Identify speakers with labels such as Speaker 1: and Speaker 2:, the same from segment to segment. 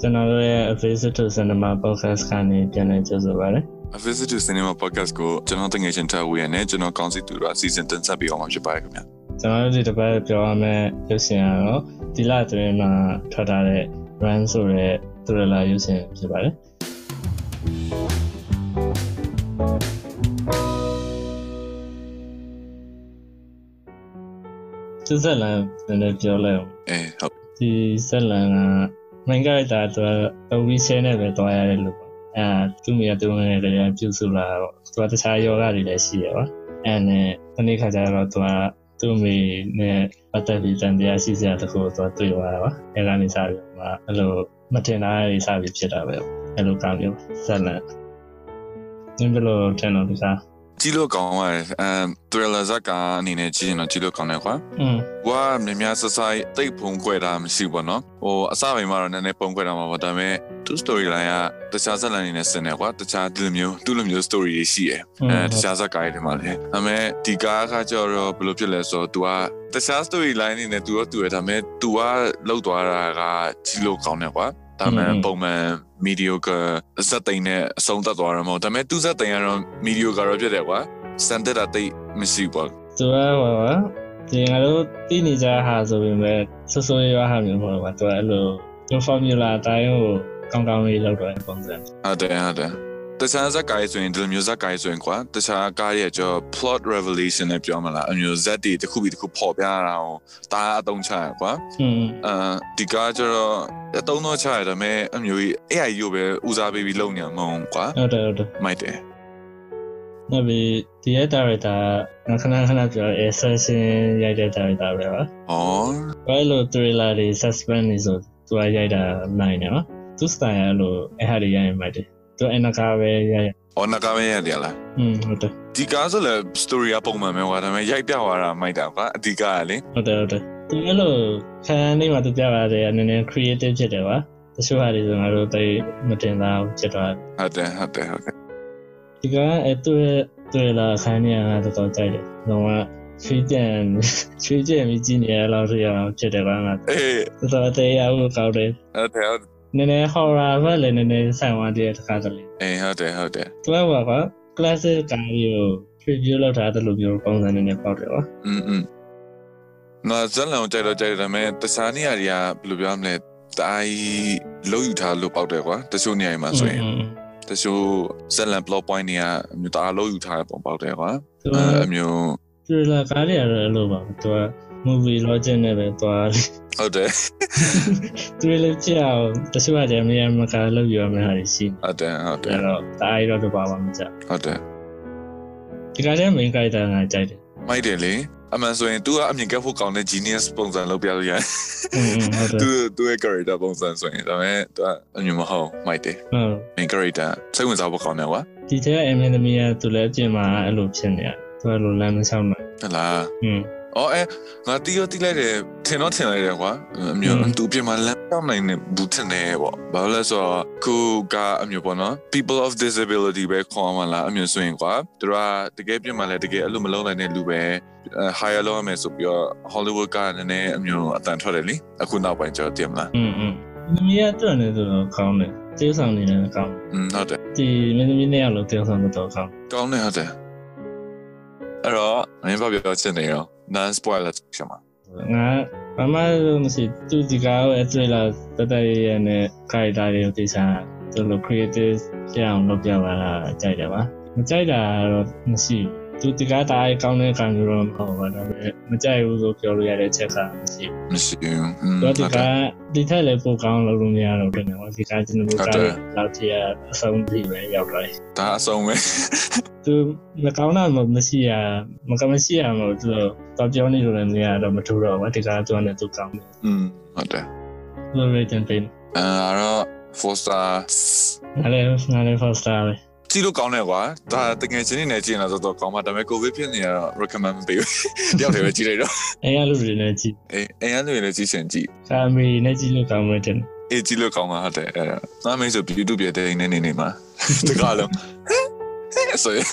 Speaker 1: ကျွန်တော်တို့ရဲ့ A Visit to Cinema Podcast ကနေပြန်လည်ကြိုဆိုပါရစေ။
Speaker 2: A Visit to Cinema Podcast ကိုကျွန်တော်တငယ်ချင်းထားဝေရနဲ့ကျွန်တော်ကောင်းစီသူတို့ season 10ဆက်ပြီးအောင်မှာဖြစ်ပါတယ်ခင်ဗျာ
Speaker 1: ကျွန်တော်တို့ဒီတစ်ပတ်ပြောရမယ့်ရုပ်ရှင်ကတော့ဒီလအတွင်းမှာထွက်ထားတဲ့ Run ဆိုတဲ့ thriller ရုပ်ရှင်ဖြစ်ပါတယ်။ဒီဇက်လန်လည်းပြောလိုက်အောင်
Speaker 2: ။အဲဟုတ်
Speaker 1: ဒီဇက်လန်က main character အတွက်အဝီဆဲနဲ့ပဲတွားရတယ်လို့ပေါ့။အဲဒါသူ့မိရသူ့မိရတည်းကပြုစုလာတော့သူကတခြားယောဂတွေလည်းရှိရပါ။အဲနဲ့ဒီနေ့ခါကျတော့သူကသူ့မိနဲ့ပတ်သက်ပြီးတန်တရားရှိစရာတစ်ခုကိုသူကတွေ့သွားတာပါ။အဲကနေစပြီးတော့မှအဲ့လိုမတင်တာတွေစပြီးဖြစ်တာပဲ။အဲ့လိုကောင်းမျိုးဇက်လန်။ဒီလိုထင်တော့ဒီစား
Speaker 2: ကြည့်လို့ကောင်းပါတယ်အမ် thriller ဇာတ်ကအနေနဲ့ကြည့်ရင်တော့ကြည့်လို့ကောင်းတယ်ခွာ
Speaker 1: ။อืม
Speaker 2: ။ဝါမြများဆဆိုင်တိတ်ဖုံခွဲတာမရှိဘူးပေါ့နော်။ဟိုအစပိုင်းမှာတော့နည်းနည်းပုံခွဲတာမှာပေါ့ဒါပေမဲ့ two story line ကတခြားဇာတ်လမ်းတွေနဲ့ဆင်တယ်ခွာ။တခြားဒီလိုမျိုးသူ့လိုမျိုး story တွေရှိတယ်
Speaker 1: ဟုတ်
Speaker 2: ။အဲ
Speaker 1: ဟုတ်
Speaker 2: တခြားဇာတ်ကားတွေထဲမှာလည်းဒါပေမဲ့ဒီကားကကျတော့ဘယ်လိုဖြစ်လဲဆိုတော့ तू ကတခြား story line တွေနဲ့ तू ရော तू ရဒါပေမဲ့ तू ကလောက်သွားတာကကြည့်လို့ကောင်းတယ်ခွာ။ဒါပေ
Speaker 1: ဟုတ်ဟုတ်
Speaker 2: မဲ့ပုံမှန် mediocre ဇက်သိန်းနဲ့အဆုံးသတ်သွားတာမဟုတ်ဘူးဒါပေမဲ့သူ့ဇက်သိန်းကတော့ mediocre တော့ဖြစ်တယ်ကွာစံတက်တာတိတ်မရှိဘူးပေါ့
Speaker 1: သူကဟိုပါဒီငါတို့တည်နေကြဟာဆိုပေမဲ့ဆွဆွရွားဟာမျိုးပေါ့ကွာသူကအဲ့လိုသူ formula အတိုင်းကိုကောင်းကောင်းလေးလောက်တော့ပုံစံ
Speaker 2: ဟုတ်တယ်ဟုတ်တယ်တခြားဇာတ်ကားတွေဆိုရင်ဒီလိုမျိုးဇာတ်ကားတွေဆိုရင်ကွာတခြားကားတွေကကျော် plot revelation နဲ့ပြောမလားအမျိုးဇက်တွေတစ်ခုပြီးတစ်ခုပေါ်ပြတာကိုဒါအသုံးချရကွာ
Speaker 1: อืม
Speaker 2: အာဒီကားကျတော့အသုံးတော့ချရဒါပေမဲ့အမျိုးကြီး AI ကိုပဲဦးစားပေးပြီးလုပ်နေမှာမဟုတ်ဘူးကွာ
Speaker 1: ဟုတ်တယ်ဟုတ်တယ်
Speaker 2: မိုက်တယ်
Speaker 1: နောက်ပြီးဒီရဲ့ director ကခဏခဏပြော assassin ရိုက်တဲ့ director ပဲပါ
Speaker 2: ဟော
Speaker 1: ဘာလို့ thriller တွေ suspense တွေဆိုသူကရိုက်တာနိုင်တယ်နော်သူ style အဲ့လိုအဲ့ဟာတွေရိုက်ရင်မိုက်တယ်သူအနာကပဲရိုက်
Speaker 2: အော်နကာမရရလား
Speaker 1: อืมဟုတ်တယ်
Speaker 2: ဒီကားဆိုလည်း story အပုံမှန်ပဲကွာဒါပေမဲ့ရိုက်ပြသွားတာမိုက်တာကွာအဓိကကလေ
Speaker 1: ဟုတ်တယ်ဟုတ်တယ်သူအဲ့လိုခံနေမှာသူပြပါတယ်အနေနဲ့ creative ဖြစ်တယ်ပါတချို့ဟာတွေဆိုငါတို့တိတ်မတင်တာဖြစ်သွား
Speaker 2: ဟုတ်တယ်ဟုတ်တယ်ဟုတ်တယ်
Speaker 1: ဒီကအဲ့သူ့ရဲ့တွေ့လာခိုင်းနေတာကတော်တော်ကြိုက်တယ်။တော့ကချွေးကြံချွေးကြံပြီးကြည့်နေရတော့ဆိုရအောင်ဖြစ်တယ်ကွာငါ။
Speaker 2: အေး
Speaker 1: တော်တော်အသေးရဘူးကောက်တယ်
Speaker 2: ဟုတ်တယ်ဟုတ်တယ်
Speaker 1: ။နည်းနည်း horror ပဲလည်းနည်းနည်းဆိုင်ဝါတည်းတစ်ခါတလေ
Speaker 2: အေးဟုတ်တယ်ဟုတ်တယ်
Speaker 1: ။သူကကွာ classic ကားကြီးကို review လုပ်ထားတယ်လို့မျိုးပုံစံနဲ့နဲ့ပေါက်တယ်ကွာ
Speaker 2: อืมอืมငါဇက်လန်ကိုကြိုက်တော့ကြိုက်တယ်ဒါပေမဲ့တခြားနေရာတွေကဘယ်လိုပြောမလဲတိုင်းလုံးယူထားလို့ပေါက်တယ်ကွာတချို့နေရာတွေမှာ
Speaker 1: ။
Speaker 2: ဆိုရင်တချို့ဇက်လန် plot point တွေကအမျိုးဒါလုံးယူထားတဲ့ပုံပေါက်တယ်ကွာ
Speaker 1: သူ
Speaker 2: အဲ
Speaker 1: က
Speaker 2: အမျိုး
Speaker 1: thriller ကားကြီးကတော့အဲ့လိုပါ။သူက movie logic နဲ့ပဲသွားတယ်
Speaker 2: ဟုတ်တယ်
Speaker 1: ။ thriller ကြည့်အောင်တချို့ကကြမ်းမရမကာလောက်ယူရမယ့်ဟာတွေရှိ
Speaker 2: ဟုတ်တယ်ဟုတ်တ
Speaker 1: တယ်။
Speaker 2: ယ်
Speaker 1: အဲ့တော့ဒါအရတော့တပါပါမကြ။
Speaker 2: ဟုတ်တယ်
Speaker 1: ဒီကားရဲ့ main character ကကြိုက်တယ်
Speaker 2: မိုက်တယ်လေအမှန်ဆိုရင် तू ကအမြင်ကက်ဖို့ကောင်းတဲ့ genius ပုံစံလုပ်ပြလို့ရတယ်
Speaker 1: อืมอืมဟုတ်တယ်
Speaker 2: तू तू ရဲ့ character ပုံစံဆိုရင်ဒါပေမဲ့ तू ကအမြင်မဟုတ်မိုက်တယ်
Speaker 1: ဟုတ်
Speaker 2: main character စိတ်ဝင်စားဖို့ကောင်းတယ်ကွာ
Speaker 1: ဒီထဲကအမင်းသမီးကသူလည်းအပြင်မှာအဲ့လိုဖြစ်နေရတယ်သူအဲ့လိုလမ်းမလျှောက်နိုင်
Speaker 2: ဟတ်လား
Speaker 1: อืม
Speaker 2: อ๋อเอ้งาตียอตีไล่တယ်ထင်တော့ထင်လိုက်တယ်ကွာအမျိုး
Speaker 1: อืม
Speaker 2: သူပြင်မှာလမ်းတောက်နိုင်နေဘူးထင်တယ်ပေါ့ဘာလို့လဲဆိုတော့ကိုကအမျိုးပေါ့နော် people of disability ပဲခေါ်မှလားအမျိုးဆိုရင်ကွာသူကတကယ်ပြင်မှာလဲတကယ်အဲ့လိုမလုံးနိုင်တဲ့လူပဲအဲ hire လုပ်ရမယ်ဆိုပြီးတော့ Hollywood ကလည်းနည်းနည်းအမျိုးအတန်ထွက်တယ်လीအခုနောက်ပိုင်းကျတော့တင်မလား
Speaker 1: อืมอืมသမီးကတွန့်နေဆိုတော့ကောင်းတယ်တေးဆောင်နေလည်းကောင်း
Speaker 2: อืมဟုတ်တယ်
Speaker 1: တယ်ဒီမင်းသမီးနဲ့ကလို့တေးဆောင်မတော့ကောင်း
Speaker 2: ကောင်းတယ်ဟုတ်တယ်အဲ့တော့မင်းဘာပြောချင်နေရော non spoiler ချက်မှာ
Speaker 1: ငါဘာမှလို့မရှိသူဒီကားကိုအတွေ့လာတတရရနဲ့ character တွေကိုတေးဆောင်သူလို creative ဖြစ်အောင်လုပ်ပြပါလားကြိုက်တယ်ပါမကြိုက်တာတော့မရှိဘူးသူဒီကားတားအကောင်းတဲ့ကံမျိုးတော့မဟုတ်ပါဘူးဒါပေမဲ့မကြိုက်ဘူးဆိုပြောလို့ရတဲ့အချက်ကမရှိဘူး
Speaker 2: မရှိဘူးอืม
Speaker 1: တော့ဒီ
Speaker 2: ဟုတ်
Speaker 1: က
Speaker 2: တယ်
Speaker 1: ဒီထက်လည်းပိုကောင်းလုပ်လို့မရတော့ဘူးနော်ဒီကကျွန်တော်တို့က
Speaker 2: ဟုတ်တယ်
Speaker 1: လည်းလောက်ထရအဆုံးထိပဲရောက်သွားတယ်
Speaker 2: ဒါအဆုံးပဲ
Speaker 1: သူမကောင်းတာမမရှိရမကမရှိရမလို့သူတော့တော်ပြောနေလို့လည်းမရတော့မထူတော့ဘူးဒီကသူကလည်းသူကောင်းတယ်
Speaker 2: อืมဟုတ်တယ်
Speaker 1: သူလည်းတင်တင်
Speaker 2: အဲအဲ့တော့ four star
Speaker 1: ငါလည်းငါလည်း first star ပဲ
Speaker 2: ကြည့်လို့ကောင်းတယ်ကွာဒါတကယ်ချင်းနေနဲ့ကြည့်ရင်တော့တော်တော်ကောင်းပါဒါပေမဲ့ covid ဖြစ်နေရတော့ recommend မပေးဘူးတယောက်တည်းပဲကြည့်လိုက်တော့
Speaker 1: အဲရလူတွေနဲ့ကြည့်
Speaker 2: အေးအရန်တွေလည်းကြည့်ချင်ကြည့်
Speaker 1: ကာမီနဲ့ကြည့်လို့ကောင်းမယ်တင်
Speaker 2: အေးကြည့်လို့ကောင်းမှာဟုတ်တယ်အဲ့တော့နာမည်ဆို YouTube ပြတဲ့နေနေနေမှာတကားလုံးဆိုရင်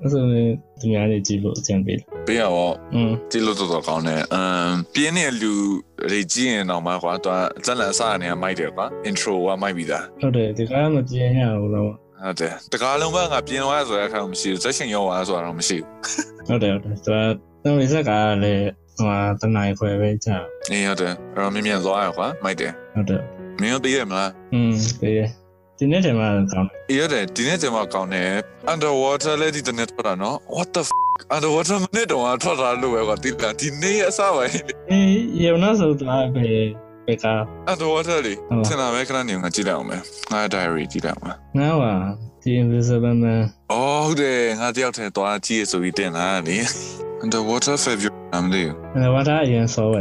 Speaker 1: အဲ့ဆိုရင်သူများတွေကြည့်လို့အကြံပေးတယ်
Speaker 2: ပေးရတော့
Speaker 1: อืม
Speaker 2: ကြည့်လို့တော်တော်ကောင်းတယ်အမ်ပြင်းတဲ့လူတွေကြည့်ရင်တော့မှကွာသူကအသက်လန်အစအနေကမိုက်တယ်ကွာ intro ကမိုက်ပြီးသား
Speaker 1: ဟုတ်တယ်ဒီကားကမပြင်းရဘူးလို့
Speaker 2: ဟုတ်တယ်တကားလုံးဘက်ကပြင်းသွားဆိုတဲ့အခါမှမရှိဘူးဇက်ရှင်ရောက်သွားဆိုတာတော့မရှိဘူး
Speaker 1: ဟုတ်တယ်ဟုတ်တယ်သူကသူစက်ကလည်းဟိုဟာတနင်္လာခွဲပဲကြာ
Speaker 2: အေးဟုတ်တယ်အဲ့တော့မြင်မြန်သွားရကွာမိုက်တယ်
Speaker 1: ဟုတ်တယ်
Speaker 2: မင်းတို့ပေးရမလား
Speaker 1: อืมပေးတယ်ဒီနေ့တင်မှာကောင်းတယ်
Speaker 2: ။အေးရတယ်ဒီနေ့တင်မှာကောင်းတယ် underwater လည်းဒီတစ်နေ့ထွက်တာနော် what the fuck underwater မနစ်တော့ထွက်တာလို့ပဲကွာဒီကဒီနေ့အစပိုင်း
Speaker 1: အေးရုံနောက်ဆိုသူကပဲပဲကား
Speaker 2: underwater လေ
Speaker 1: ဟုတ်
Speaker 2: စင်လာပဲခဏနေငါကြည့်လိုက်အောင်မယ်ငါ diary ကြည့်လိုက်အောင်မယ်
Speaker 1: ငါကဒီ invisible man
Speaker 2: ။အော်ဟုတ်တယ်ငါတယောက်တည်းသွားကြည့်ရဆိုပြီးတင်လာတာလေ underwater february အမ
Speaker 1: အ
Speaker 2: လေး
Speaker 1: ဲ့ဝါဒအရင်ဆောပဲ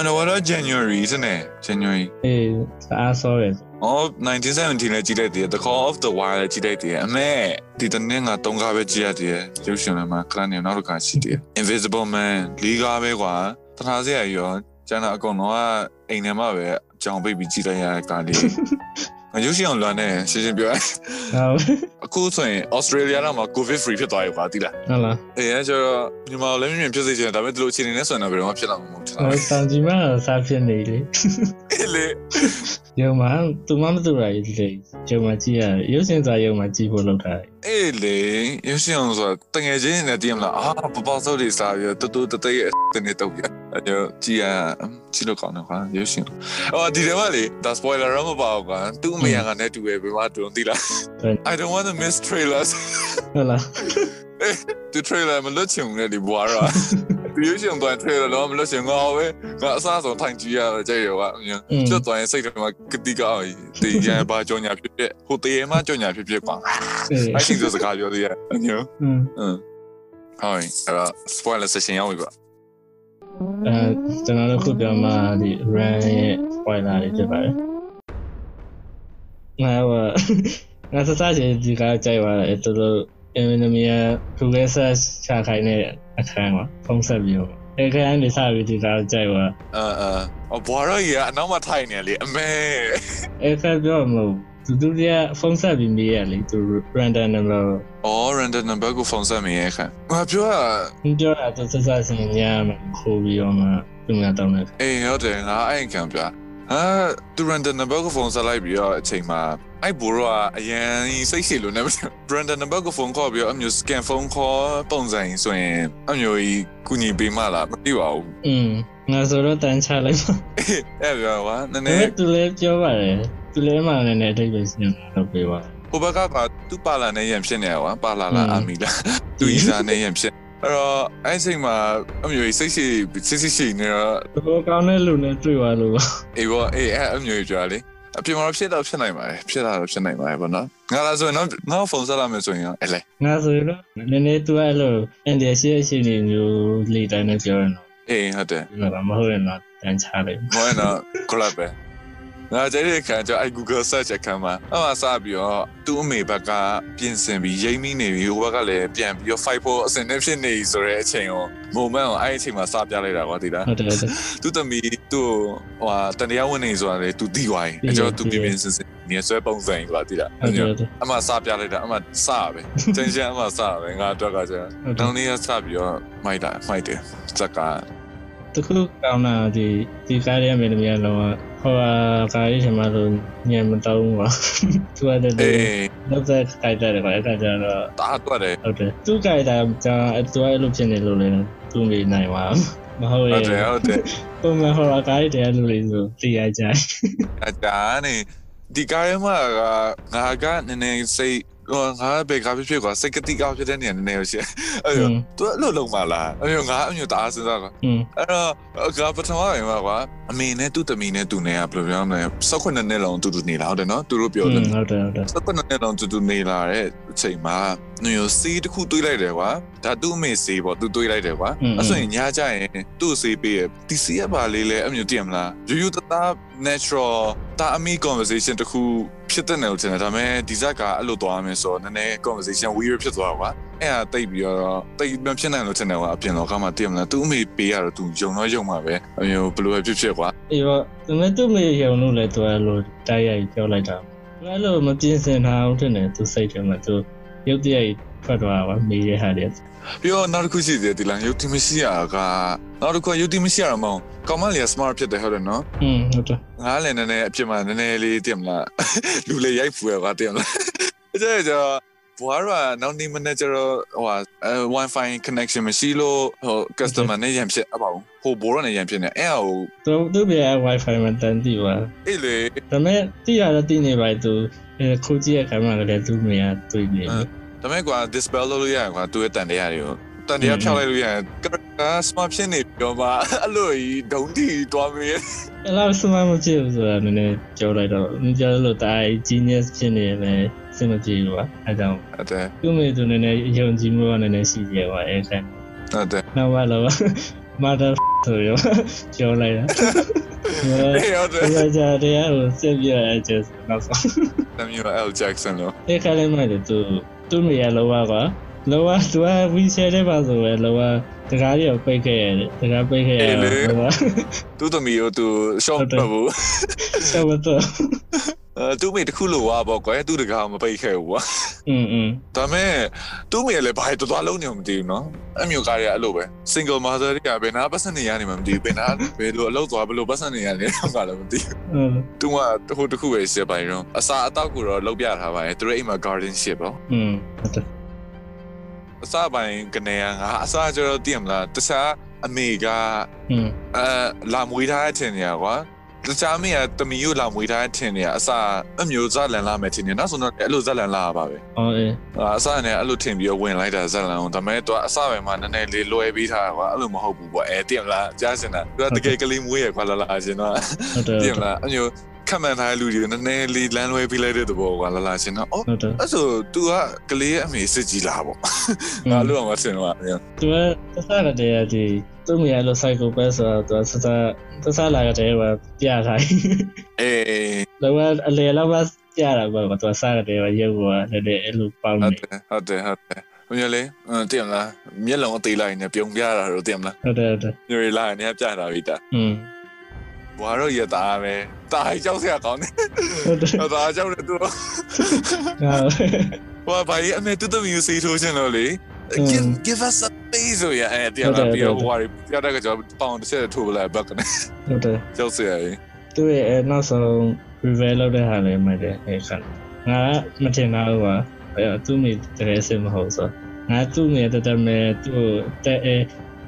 Speaker 2: underwater january စနေ january
Speaker 1: အေးစအားဆောပဲ
Speaker 2: အော်1917လည်းကြည့်လိုက်သေးတယ် the call of the wild လည်းကြည့်လိုက်သေးတယ်အမေဒီတစ်နေ့ငါ၃ကားပဲကြည့်ရသေးတယ်ရုပ်ရှင်လည်းမှာခဏနေနောက်တစ်ခါရှိသေးတယ် invisible man ၄ကားပဲကွာတနာစရာကြီးရောကျန်တာအကုန်လုံးကအိမ်ထဲမှာပဲအကြောင်ပိတ်ပြီးကြည့်လိုက်ရတဲ့ကား လေးငါရုပ်ရှင်အောင်လွန်နေရှင်းရှင်းပြောရရင်
Speaker 1: ဟုတ်
Speaker 2: အခုဆိုရင် Australia တော့မှာ covid free ဖြစ်သွားပြီကွာတိလား
Speaker 1: ဟုတ်လား
Speaker 2: အဲအဲကျတော့မြန်မာလည်းမြင်ဖြစ်စေချင်တယ်ဒါပေမဲ့ဒီလိုအခြေအနေနဲ့ဆိုရင်တော့ဘယ်တော့မှဖြစ်လာမှာမဟုတ်ဘူး
Speaker 1: ဟိုစံကြီးမစားဖြစ်နေလေ
Speaker 2: အဲ့ လေ
Speaker 1: ရုံမှာသူမမတူတာကြီးလေရုံမှာကြည့်ရတယ်ရုပ်ရှင်စာရုံမှာကြည့်ဖို့လုပ်တာ
Speaker 2: အဲ့လေရုပ်ရှင်အောင်ဆိုတာတငယ်ချင်းတွေနဲ့တည်မလားအာပပစောတွေစားပြီးတော့တူတူတတရဲ့ တနေ့တော့ပြအဲ့တော့ကြည်ရကြည့်လို့ကောင်းတော့ကွာရုပ်ရှင်အော်ဒီတော့လေဒါ spoiler တော့မပါဘူးကွာသူ့အမေကလည်းတူပဲဘယ်မှာတူသိလား I don't want to miss trailers
Speaker 1: ဟုတ်လား
Speaker 2: ဒီ trailer မလွတ်ချင်ဘူးလေဒီဘွားတော့ဒီရုပ်ရှင်တော့ trailer တော့မလွတ်ချင်ငါပဲငါအစားဆုံးထိုင်ကြည့်ရတော့ကြည့်ရောကအမြင်ကျွတ်သွားရင်စိတ်ထဲမှာကတိကောက်ဒီရန်ပါကြောင်ညာဖြစ်ဖြစ်ဟိုတရေမှာကြောင်ညာဖြစ်ဖြစ်ကွာ
Speaker 1: အေး
Speaker 2: အဲ့ဒီစကားပြောသေးရအညော
Speaker 1: อืม
Speaker 2: อืมဟုတ်အဲ့တော့ spoiler session ရောက်ပြီပါ
Speaker 1: အဲကျွန်တော်တို့ခုပြောမှာဒီ run ရဲ့ spoiler တွေဖြစ်ပါတယ်ငါကငါစစချင်းဒီကကြိုက်သွားတယ်တော်တော် enemy က progressor ချခိုင်းတဲ့အခန်းကဖုံးဆက်ပြီးတော့အခန်းနေစားပြီးဒီကကြိုက်သွား
Speaker 2: အာအာအဘွားရရအနောက်မှာထိုင်နေလေအမေ
Speaker 1: အဲ့ဆက်ပြောမလို့သူသူကဖုန်းဆက်ပြီးမေးရလေသူ random number
Speaker 2: အော် random number ကိုဖုန်းဆက်မိရဲ့ခါငါပြောတာ
Speaker 1: ကိုသူပြောတာသူဆက်ဆက်စင်ညာမှာခိုးပြီးတော့မှသူများတောင်းတယ်
Speaker 2: အေးဟုတ်တယ်ငါအဲ့ခံပြဟာသူ random number ကိုဖုန်းဆက်လိုက်ပြီးတော့အချိန်မှာအဲ့ဘိုးရကအရင်စိတ်ရှည်လို့နေ မလို့ random number ကိုဖုန်းခေါ်ပြီးတော့အမျိုး scan phone call ပုံစံကြီးဆိုရင်အမျိုးကြီးကုညီပေးမလားမသိပါဘူး
Speaker 1: อืมငါဆိုတော့တန်ချလိုက်ပါ
Speaker 2: အဲ့ပြောကွာနည်း
Speaker 1: ဒါပေ
Speaker 2: နည်း
Speaker 1: မဲ့သူလည်းပြောပါတယ်သူလည်းမှလည်းနဲ့အထိပ္ပယ်စဉ်းစားလုပ်ပေးပါ
Speaker 2: ဟိုဘက်ကကသူ့ပါလာနဲ့ရံဖြစ်နေရကွာပါလာလာ
Speaker 1: อืม
Speaker 2: အာမီလာသူ့ဤစားနဲ့ရံဖြစ်အဲ့တော့အဲ့ဒီအချိန်မှာအမျိုးကြီးစိတ်ရှိစိတ်ရှိရှိနေတော့
Speaker 1: သူကောင်းတဲ့လူနဲ့တွေ့ပါလို့ပါ
Speaker 2: အေးဘောအေးအဲ့အမျိုးကြီးကြွားလေအပြင်မှာတော့ဖြစ်တော့ဖြစ်နိုင်ပါတယ်ဖြစ်တာတော့ဖြစ်နိုင်ပါတယ်ဗောနော်ငါလာဆိုရင်တော့ငါဖုန်းဆက်လာမယ်ဆိုရင်ရောအဲ့လေ
Speaker 1: ငါဆိုရင်တော့နည်းနည်းသူကအဲ့လိုအန်ဒီရှေ့ရှေ့နေမျိုးလေတိုင်းနဲ့ပြောရင်တော့
Speaker 2: အေးဟုတ်တယ်
Speaker 1: ဒီမှာမဟုတ်ရင်တော့တန်ချလိုက်ပါ
Speaker 2: မောင်တော့ club ပဲငါကြိုက်တဲ့အခါကျတော့အဲ့ Google search အခါမှာအမှစပြီးတော့သူ့အမေဘက်ကပြင်ဆင်ပြီးရိမ့်မိနေပြီးဟိုဘက်ကလည်းပြန်ပြီးတော့ fight for အစင်နဲ့ဖြစ်နေပြီဆိုတဲ့အချိန်ကို moment ကိုအဲ့ဒီအချိန်မှာစပြလိုက်တာကွာဒီလား
Speaker 1: ဟုတ်တယ်ဟုတ်တယ်
Speaker 2: သူသမီးသူ့ဟိုဟာတန်တရားဝင်နေဆိုတာလေသူတီးသွားရင်
Speaker 1: တီးတ
Speaker 2: အ
Speaker 1: ယ်
Speaker 2: ကျော်သူပြင်းပြင်းစင်စင်နေဆွဲပုံစံကြီးပါတိလား
Speaker 1: ဟုတ်တယ်ဟုတ်တယ်
Speaker 2: အမစပြ လိုက်တာအမစရပဲ တင်ချင်အမစရပဲငါအတွက်ကကျန်
Speaker 1: ဟုတ်တယ်
Speaker 2: တောင်းနေရစပြီးတော့မိုက်တာမိုက်တယ်စက်က
Speaker 1: တခုကောင်းတာဒီဒီကားရဲ့မယ်လို့ပြောတော့ဟိုဟာကားကြီးထင်မှလို့ညံမတောင်းဘူးပါ သူကတည်းက
Speaker 2: အေး
Speaker 1: လောက်တဲ့ခိုက်တဲ့ကွာအဲ့ဒါကြတော့
Speaker 2: တာအတော့တယ်
Speaker 1: ဟုတ်တယ်သူ့ခိုက်တာကသူကအဲ့လိုဖြစ်နေလို့လေသူ့မေးနိုင်ပါ မဟုတ်
Speaker 2: ဟုတ်တ
Speaker 1: ရဲ့
Speaker 2: ယ်ဟုတ်တယ်
Speaker 1: ပုံမှန်ဟိုဟာကားကြီးတရားလူလေးဆိုသိရကြတယ်
Speaker 2: အတားနေဒီကားရမှာကငါကနည်းနည်းစိတ်ဟိုငါကပဲကားဖြစ်ဖြစ်ကွာစိတ်ကတိကောက်ဖြစ်တဲ့နေရာနည်းနည်းရရှိအဲ့
Speaker 1: อื
Speaker 2: တော့
Speaker 1: ม
Speaker 2: သူအဲ့လိုလုံးပါလားအဲ့တော့ငါအမျိုးတအားစဉ်းစားကွာ
Speaker 1: อืม
Speaker 2: အဲ့တော့ကပထမအရင်ပါကွာအမေနဲ့သူ့တမီနဲ့သူနဲ့ကဘယ်လိုပြောမလဲ18နှစ်လောက်အတူတူနေလာဟုတ်တယ်နော်သူတို့ပြော
Speaker 1: ဟုတ်တယ်
Speaker 2: တ
Speaker 1: ယ်ဟုတ်တယ်ဟုတ်တယ်
Speaker 2: 18နှစ်လောက်အတူတူနေလာတဲ့အချိန်မှာညိုစီးတစ်ခုတွေးလိုက်တယ်ကွာဒါသူ့အမေစီးပေါ့သူတွေးလိုက်တယ်ကွာအဲ့ဆိုရင်ညကြရင်သူ့စီးပေးရဒီစီးရပါလေးလဲအမျိုးတည်မလားယူယူတသား natural တာအမီ conversation တစ်ခုဖြစ်တဲ့နယ်လို့ထင်တယ်ဒါပေမဲ့ဒီဇက်ကအဲ့လိုသွားမယ်ဆိုတော့နည်းနည်း conversation weird ဖြစ်သွားကွာ အဲ့ဒါတိတ်ပြီးတော့တိတ်မဖြစ်နိုင်လို့ထင်တယ်ကွာအပြင်လောကမှာတည်မလားသူအမေပေးရတော့သူယုံတော့ယုံမှာပဲအမျိုးဘယ်လိုပဲဖြစ်ဖြစ်ကွာ
Speaker 1: အေးတော့သူနဲ့သူ့မေးရုံလို့လေသူအဲ့လိုတိုက်ရိုက်ပြောလိုက်တာသူအဲ့လိုမပြင်းစင်တာဟုတ်တယ်သူစိတ်ထဲမှာသူရုပ်တရက် ဖတ်သွားတာကွာမေးရတဲ့ဟာတွေ
Speaker 2: ပြီးတော့နောက်တစ်ခုရှိသေးတယ်ဒီလားယုတ်တိမရှိရကနောက်တစ်ခုကယုတ်တိမရှိရမအောင်ကောင်မလေးက smart ဖြစ်တယ်ဟုတ်တယ်နော်
Speaker 1: อืมဟုတ်တယ်
Speaker 2: ငါလည်းနည်းနည်းအဖြစ်မှာနည်းနည်းလေးတင်မလားလူလေး ရိုက်ဖူရကွာတင်မလား အဲ့ဒါကြောင့်ဘွားရနောက်နေ့မနေ့ကျတော့ဟိုဟာအဲ wifi connection မရှိလို့ဟို customer နဲ့ရန်ဖြစ်အပေါ့ဟိုဘိုးရနဲ့ရန်ဖြစ်နေအဲ့ဟာကို
Speaker 1: သူသူပြန် Wi-Fi မှာတန်တီးပါ
Speaker 2: အဲ့လေ
Speaker 1: ဒါပေမဲ့တိရတော့တိနေပါလေသူအဲခိုးကြည့်ရခံမှာလည်းသူမေကတွေ့နေ
Speaker 2: အဲ ဒါပေမဲ့ကွာ dispel လုပ်လို့ရတယ်ကွာသူ့ရဲ့တန်တရားတွေကိုတန်တရားဖြောင်းလိုက်လို့ရတယ်ကာ smart ဖြစ်နေပြောပါအဲ့လိုကြီးဒုံတီတွားမေး
Speaker 1: အဲ့လိုစမမကြည့်ဘူးဆိုတာနည်းနည်းကြောလိုက်တော့နည်းကြောလို့တိုင်း genius ဖြစ်နေတယ်ပဲစင်မပြေဘူးကအဲဒါကြောင့်
Speaker 2: ဟုတ်တယ်
Speaker 1: သူမေသူနည်းနည်းယုံကြည်မှုကနည်းနည်းရှိကြပါအဲ့ဒါ
Speaker 2: ဟုတ်တယ်
Speaker 1: နောက်ပါတော့ mother ဆိုရောကြောလိုက်တာ
Speaker 2: ဟေးဟုတ်တယ်
Speaker 1: အဲဒါကြတရားကိုစက်ပြရဲကျနောက်ဆုံး
Speaker 2: တမီရော L Jackson လို့
Speaker 1: အဲ့ကလေးမလေးသူသူ့မိရလောကကလောကသူကဝီရှယ်တဲ့ပါဆိုပဲလောကတကားကြီးကိုပိတ်ခဲ့ရတယ်တကားပိတ်ခဲ့ရတယ်လောက
Speaker 2: သူ့တမီရောသူရှော့ပတ်ဘူး
Speaker 1: ဆောက်တော့
Speaker 2: အဲသူ့မိတစ်ခုလို့ဝါပေါ့ကွယ်သူ့တကာမပိတ်ခဲ့ဘူးကွာ
Speaker 1: อืมอืม
Speaker 2: ဒါပေမဲ့သူ့မိလည်းဘာတော်တော်လုံးနေမှမသိဘူးနော်အမျိုးကားတွေကအဲ့လိုပဲ single mother တွေကဘယ်နာပတ်စံနေရနေမှမသိဘူးဘယ်နာဘယ်လိုအလုပ်သွားဘယ်လိုပတ်စံနေရနေတော့ကလည်းမသိဘူး
Speaker 1: ဟုတ်
Speaker 2: သူကတခုတစ်ခုပဲရှင်းပိုင်းတော့အစာအသောက်ကိုတော့လောက်ပြထားပါတယ်သူတို့အိမ်မှာ garden ရှင်းပေါ့
Speaker 1: อืมဟုတ်တယ်
Speaker 2: အစာပိုင်းကနေကငါအစာကျတော့သိရမလားတခြားအမေက
Speaker 1: อืม
Speaker 2: အဲလာမွေးထားတဲ့အချိန်တွေကကွာတခြားအမေကတမီကိုလာမွေးထားတဲ့အချိန်တွေကအစာအမျိုးဇာလန်လာမယ်ထင်တယ်နောက်ဆုံးတော့အဲ့လိုဇာလန်လာရပါပဲ
Speaker 1: အော်အေး
Speaker 2: အာအစာနဲ့အဲ့လိုထင်ပြီးတော့ဝင်လိုက်တာဇာလန်အောင်ဒါပေမဲ့သူကအစာပိုင်းမှာနည်းနည်းလေးလွယ်ပေးထားတာကွာအဲ့လိုမဟုတ်ဘူးကွာအဲသိရမလားကြားစင်တာသူကတကယ်ကလေးမွေးရကွာလာလာရှင်တော့
Speaker 1: ဟုတ်တယ်
Speaker 2: သိရမလားအမျိုးခက်မှန်ထားတဲ့လူတွေကနည်းနည်းလေးလမ်းလွဲပေးလိုက်တဲ့သဘောကွာလာလာရှင်တော့အော်
Speaker 1: ဟုတ်တယ်
Speaker 2: အဲ့ဆို तू ကကလေးရဲ့အမေစစ်ကြီးလာပေါ့ငါလို့အောင်မထင်တော့ပါဘူး
Speaker 1: သူကသစားကတည်းကဒီသူ့မိရလောစိုက်ကိုပဲဆိုတော့သူကသစားသစားလာကတည်းကပြထား
Speaker 2: အေး
Speaker 1: လောကအလေလောကပြတာပေါ့သူကစားကတည်းကရုပ်ကလည်းအဲ့လိုပေါင်း
Speaker 2: ဟုတ်
Speaker 1: နေ
Speaker 2: တယ်ဟုတ်တယ်ဟုတ်တယ်ဘုညလေးအင်းတင်မလားမျက်လုံးအသေးလိုက်နေပြုံပြတာတော့တင်မလား
Speaker 1: ဟုတ်တယ်ဟုတ်တယ်
Speaker 2: ညရီလာနေပြတာပြီတာ
Speaker 1: อืม
Speaker 2: ဘွားတော့ရတာပဲတာကြောက်စရာကောင်းတယ်
Speaker 1: ဟုတ်တယ်
Speaker 2: တာကြောက်တယ်သူ
Speaker 1: ဟုတ်
Speaker 2: ဘွားဘာကြီးအမေတူတူမျိုးစီထိုးချင်လို့လေ give give us a space ရအဲ့တင်လားပြောဘွားပြတာကကြောက်ပေါင်တစ်ချက်ထိုးလိုက်ဘက်ကနေ
Speaker 1: ဟုတ်တယ်
Speaker 2: ကြောက်စရာကြီး
Speaker 1: သူ့ရဲ့အဲနောက်ဆုံး reveal လုပ်တဲ့ဟာလည်းမှတ်တယ်အဲခါငါကမတင်တော့ဘူးပါအဲတော့သူ့မိတကယ်စစ်မဟုတ်ဆိုငါသူ့မိတတက်မဲ့သူ့ကိုတက်အဲ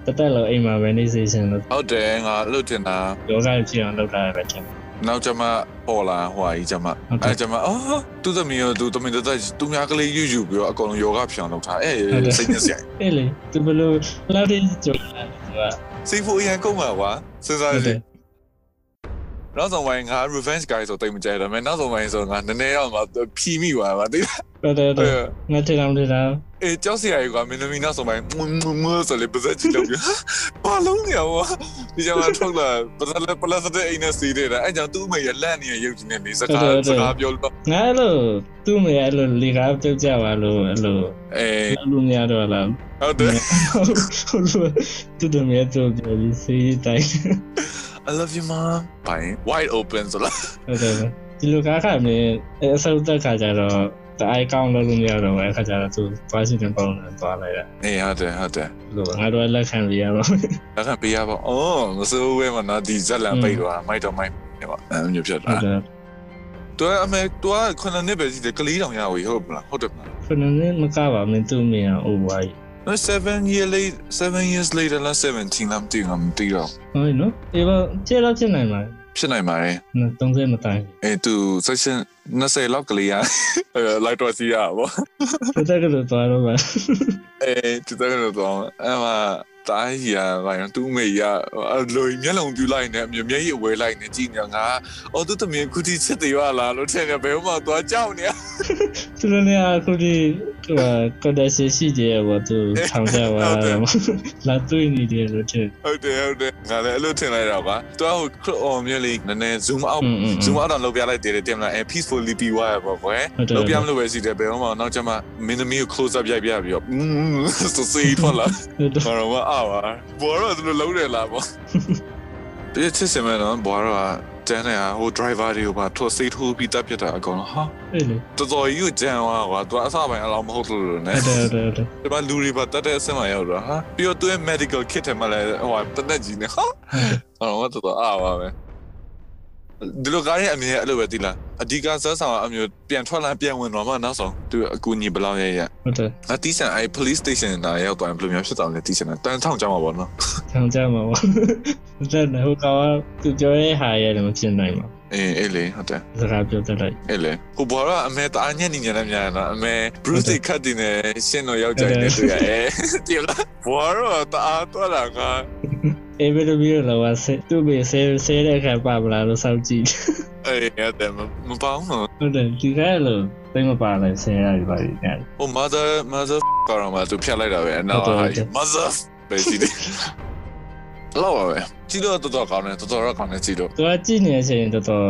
Speaker 1: တက်တက်လို့အိမ်မှာ organization လို့
Speaker 2: ဟုတ်တယ်ငါအဲ့လိုတင်တာ
Speaker 1: ယောဂဖြစ်အောင်လုပ်တာပဲတင်တယ်
Speaker 2: နောက်ကျမပေါ်လာဟွာကြီးကျမ
Speaker 1: ဟုတ်တယ်
Speaker 2: အဲ့ကျမအော်သူသမီးရောသူသမီးတက်တက်သူများကလေးယူယူပြီးတော့အကုန်လုံးယောဂဖြောင်းလုပ်တာအဲ့
Speaker 1: ဟုတ်တယ်
Speaker 2: စိတ်ညစ်စရာ
Speaker 1: အဲ့လေသူဘယ်လို့လာတဲ့ကြော်လာတယ်သူက
Speaker 2: စိတ်ဖို့အရင်ကုန်မှာကွာစဉ်းစား
Speaker 1: ဟုတ်
Speaker 2: ကြ
Speaker 1: တ
Speaker 2: ည့်
Speaker 1: ယ်
Speaker 2: နောက်ဆုံးပိုင်းငါ revenge guy ဆိုတိတ်မကြိုက်တော့မယ်နောက်ဆုံးပိုင်းဆိုငါနည်းနည်းတော့ငါဖြီးမိသွားပါသေးတယ်
Speaker 1: ဟုတ်တယ်ဟုတ်တယ်ငါတင်အောင်တင်တာ
Speaker 2: အေးကြောက်စရာကြီးကွာမင်းသမီးနောက်ဆုံးပိုင်းမွန်းမွန်းမွန်းဆိုလေပဇက်ချီလောက်ပြဘာလုံးနေရောဒီကြောင်ထုတ်လာပဇက်လက်ပလတ်စတစ်အိမ်နဲ့စီးနေတာအဲ့ကြောင့်သူ့အမေရလက်နေရုပ်ကြီးနဲ့နေစကားစကားပြောလို့
Speaker 1: ငါအဲ့လိုသူ့မိအဲ့လိုလေကားပြုတ်ကြပါလို့အဲ့လို
Speaker 2: အေး
Speaker 1: အဲ့လိုများတော့လား
Speaker 2: ဟုတ်တယ်
Speaker 1: ဟုတ်လို့သူ့မိအဲ့လိုပြောပြီးစေးတိုင်း
Speaker 2: I love you mom ဘိုင် wide open ဆိုလား
Speaker 1: ဟုတ်တယ်ဟုတ်တယ်ဒီလိုကားခါမင်းအဲအဆုတ်တက်ခါကြတော့တအိုင်ကောင်းလို့လို့မရတော့ဘူးအခါကြတော့သူပါရှင်တင်ပေါင်းနဲ့သွားလိုက်တာ
Speaker 2: အေးဟုတ်တယ်ဟုတ်တယ်
Speaker 1: ဒီလိုငါတို့ကလက်ခံပြရပါမယ်
Speaker 2: ဒါကပေးရပါအော်မစိုးဘဲမနော်ဒီဇက်လန်ပိတ်သွားမိုက်တော့မိုက်နေပါအဲ့မျိုးဖြစ်
Speaker 1: ဟု
Speaker 2: တာ
Speaker 1: တ်တယ်
Speaker 2: ตัวอเมตัวคนละนิดပဲရှိတယ်ကလေးတောင်ရဝေဟုတ်ပလားဟုတ်တယ်ပလား
Speaker 1: ဖနင်းမကပါမင်းသူ့မင်းအိုဝိုင်း
Speaker 2: နော်7 year late 7 years later လား17လားမသိဘူးငါမသိတော့
Speaker 1: ဟုတ်နော်ဒီဘကျေတော့ဖြစ်နိုင်မှာ
Speaker 2: ဖြစ်နိုင်ပါတယ်
Speaker 1: နော်30မတိုင်
Speaker 2: အဲသူ section 20လောက်က လေးရ light တော့စီရပါဘော
Speaker 1: ဘူးတက်ကတော့သွားတော့ပါ
Speaker 2: အဲသူကတော့တော့အမတိုင်းရပါရင်သူ့မေရအလိုမျက်လုံးပြူလိုက်နေအမျိုးမျက်ရည်အဝဲလိုက်နေကြည့်နေငါအော်သူတမင်ခုတီချက်သေးရလားလို့ထင်နေဘယ်မှသွားကြောက်နေရ
Speaker 1: သူတို့လည်းအခုဒီဟိုကဒါစီစီကျေဘောသူထောင်ကြပါလာတွေ့နေတယ်လို့ထင်
Speaker 2: ဟုတ်တယ်ဟုတ်တယ်ငါလည်းအဲ့လိုထင်လိုက်တော့ကွာသူကဟို crop on မျက်လေးနည်းနည်း zoom out
Speaker 1: อืมอืม
Speaker 2: zoom out တော့လောက်ပြလိုက်တယ်တင်မလားအဲ peacefully ပြီးသွားရပါကွယ်
Speaker 1: ဟုတ်တယ်
Speaker 2: လောက်ပြမလို့ပဲရှိတယ်ဘယ်တော့မှနောက်ကျမှမင်းသမီးကို close up ရိုက်ပြပြီးတော့อืมဆိုစီထွက် လာ
Speaker 1: ဟုတ်တယ်
Speaker 2: ဘာတော့မ အားပါဘောရောသူလိုလုံးတယ်လားပေါ့တကယ်ချစ်စင်မဲ့နော်ဘောရောက တန်းနေတာဟို driver တွေကိုပါထွက်စိတ်ထိုးပြီးတက်ပြစ်တာအကောင်လုံးဟာ
Speaker 1: အဲ့လေ
Speaker 2: တော်တော်ကြီးကိုကြံသွားကွာသူကအစပိုင်းအလောက်မဟုတ်လို့လို့
Speaker 1: ဟု
Speaker 2: နဲ့
Speaker 1: တ်တယ်ဟုတ်တယ်ဟုတ်တယ်
Speaker 2: ဒီမှာလူတွေပါတတ်တဲ့အဆင့်မှာရောက်တော့ဟာပြီးတော့သူရဲ့ medical kit ထဲမှာလည်းဟိုတနက်ကြီးနဲ့ဟာအော်တော်တော်အားပါပဲဒီလိုကားရဲ့အမြင်အဲ့လိုပဲတိလားအဓိကဇက်ဆောင်အမျိုးပြန်ထွက်လာပြန်ဝင်တော့မှနောက်ဆုံးသူအကူညီဘယ်လောက်ရရ
Speaker 1: ဟုတ်တယ်
Speaker 2: အတီးဆန်အဲ့ police station နာရောက်သွားရင်ဘယ်လိုမျိုးဖြစ်သွားလဲတီးဆန်တန်ထောင်ကြောင်းပါဘောနော်
Speaker 1: ခံကြမှာပေါ့ဒါနဲ့ဟိုကောင်ကသူပြောတဲ့ဟာရဲ့လည်းမဖြစ်နိုင်ပါ
Speaker 2: အေးအဲ့လေဟုတ်တယ်
Speaker 1: ဘူးစကားပြောတတ်တယ်
Speaker 2: အဲ့လေဟိုဘောကအမေတာညက်နေညက်နေများနော်အမေ Bruce တွေခတ်တင်နေရှင်းတော့ရောက်ကြတယ်သူရဲ့တိလားဘောကတအားတော်လာက
Speaker 1: အေးဘယ်လိုပြီးတော့လောကဆဲသူ့ဘေးဆဲဆဲတဲ့အခါပါပလာလို့စောက်ကြည့်
Speaker 2: အဲ့ရတယ်မမပေါင်းတော့
Speaker 1: ဟုတ်တယ်ဒီကဲလို့သိမပါလဲဆဲရပြီပါဒီကဲ
Speaker 2: Oh mother mother f- ကတော့မသူဖြတ်လိုက်တာပဲအနောက်
Speaker 1: ဟုတ်တယ်
Speaker 2: ဟာ
Speaker 1: ဟုတ်တယ်
Speaker 2: mother f- ပဲကြည့်တယ်လောက်ပါပဲကြည့်တော့တော်တော်ကောင်းတယ်တော်တော်တော့ကောင်းတယ်ကြည့်တော့
Speaker 1: သူကကြည့်နေတဲ့အချိန်တော်တော်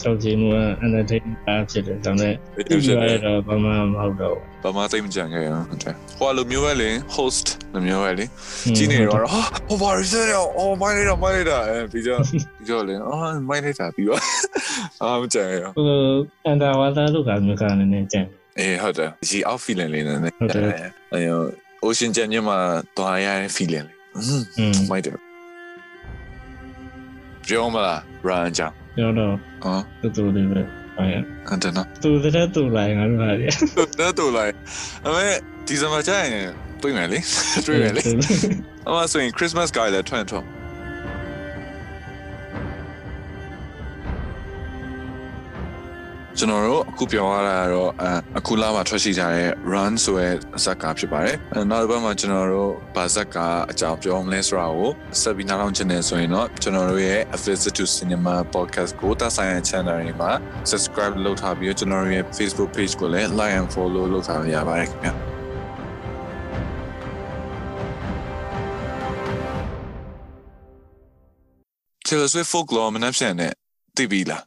Speaker 1: စောက်ကြည့်မှုက entertainment ဖြစ်တယ်ဒါပေမဲ့သူ့
Speaker 2: ဖြ
Speaker 1: ကြ
Speaker 2: စ်
Speaker 1: ည့်
Speaker 2: တ
Speaker 1: ရ
Speaker 2: ယ်
Speaker 1: တော့ဘာမှမဟုတ်တော့
Speaker 2: ဘာမှသိမကြံခဲ့ရအောင်ဟုတ်တယ်ဟိုကလိုမျိုးပဲလေ host လိုမျိုးပဲလေ
Speaker 1: ဘူး
Speaker 2: ကြည့်နေတော့ဟာဟိုဘာလို့လဲအော်မိုင်းလိုက်တာမိုင်းလိုက်တာအဲပြီးတော့ ပြီးတော့လေအော်မိုင်းလိုက်တာပြီးတော့ အာမကြံရအောင်
Speaker 1: ဟိုအန်တာဝါသားတို့ကမျိုးကနည်းနည်းကြံ
Speaker 2: အေးဟုတ်တယ်ဒီ out feeling လေးနဲ့နည်း
Speaker 1: ဟုတ်တယ်
Speaker 2: အဲ ocean ကြံညမှာတွားရတဲ့ feeling လေးအင်း
Speaker 1: อืม
Speaker 2: မိုက်တယ်ပြောမလားရန်ကြောင်
Speaker 1: ပြောတော့
Speaker 2: ဟမ်
Speaker 1: တူတူလေးပဲဘာရ
Speaker 2: အန်တနာ
Speaker 1: သူတဲ့တူလိုက်ငါတို့ဟာလေ
Speaker 2: တော်တော်လိုက်အမေဒီဇင်ဘာကျရင်တွေ့မယ်လေတွေ့မယ်လေအမဆိုရင် Christmas ကလည်းထွန်းထွန်းကျွန်တော်တို့အခုပြောရတာကတော့အအခုလာမှထွက်ရှိကြတဲ့ run ဆိုတဲ့ဇာတ်ကားဖြစ်ပါတယ်။အဲနောက်တစ်ပတ်မှာကျွန်တော်တို့ဗာဇတ်ကားအကြောင်းပြောမလဲဆိုတာကိုဆက်ပြီးနားထောင်ချင်တယ်ဆိုရင်တော့ကျွန်တော်တို့ရဲ့ Affiliate to Cinema Podcast ကိုတာဆိုင်ရ channel တွေမှာ subscribe လုပ်ထားပြီးတော့ကျွန်တော်တို့ရဲ့ Facebook page ကိုလည်း like and follow လုပ်ထားရပါတယ်ခင်ဗျာ။ Taylor Swift folklore မနှက်ပြန်နဲ့သိပြီလား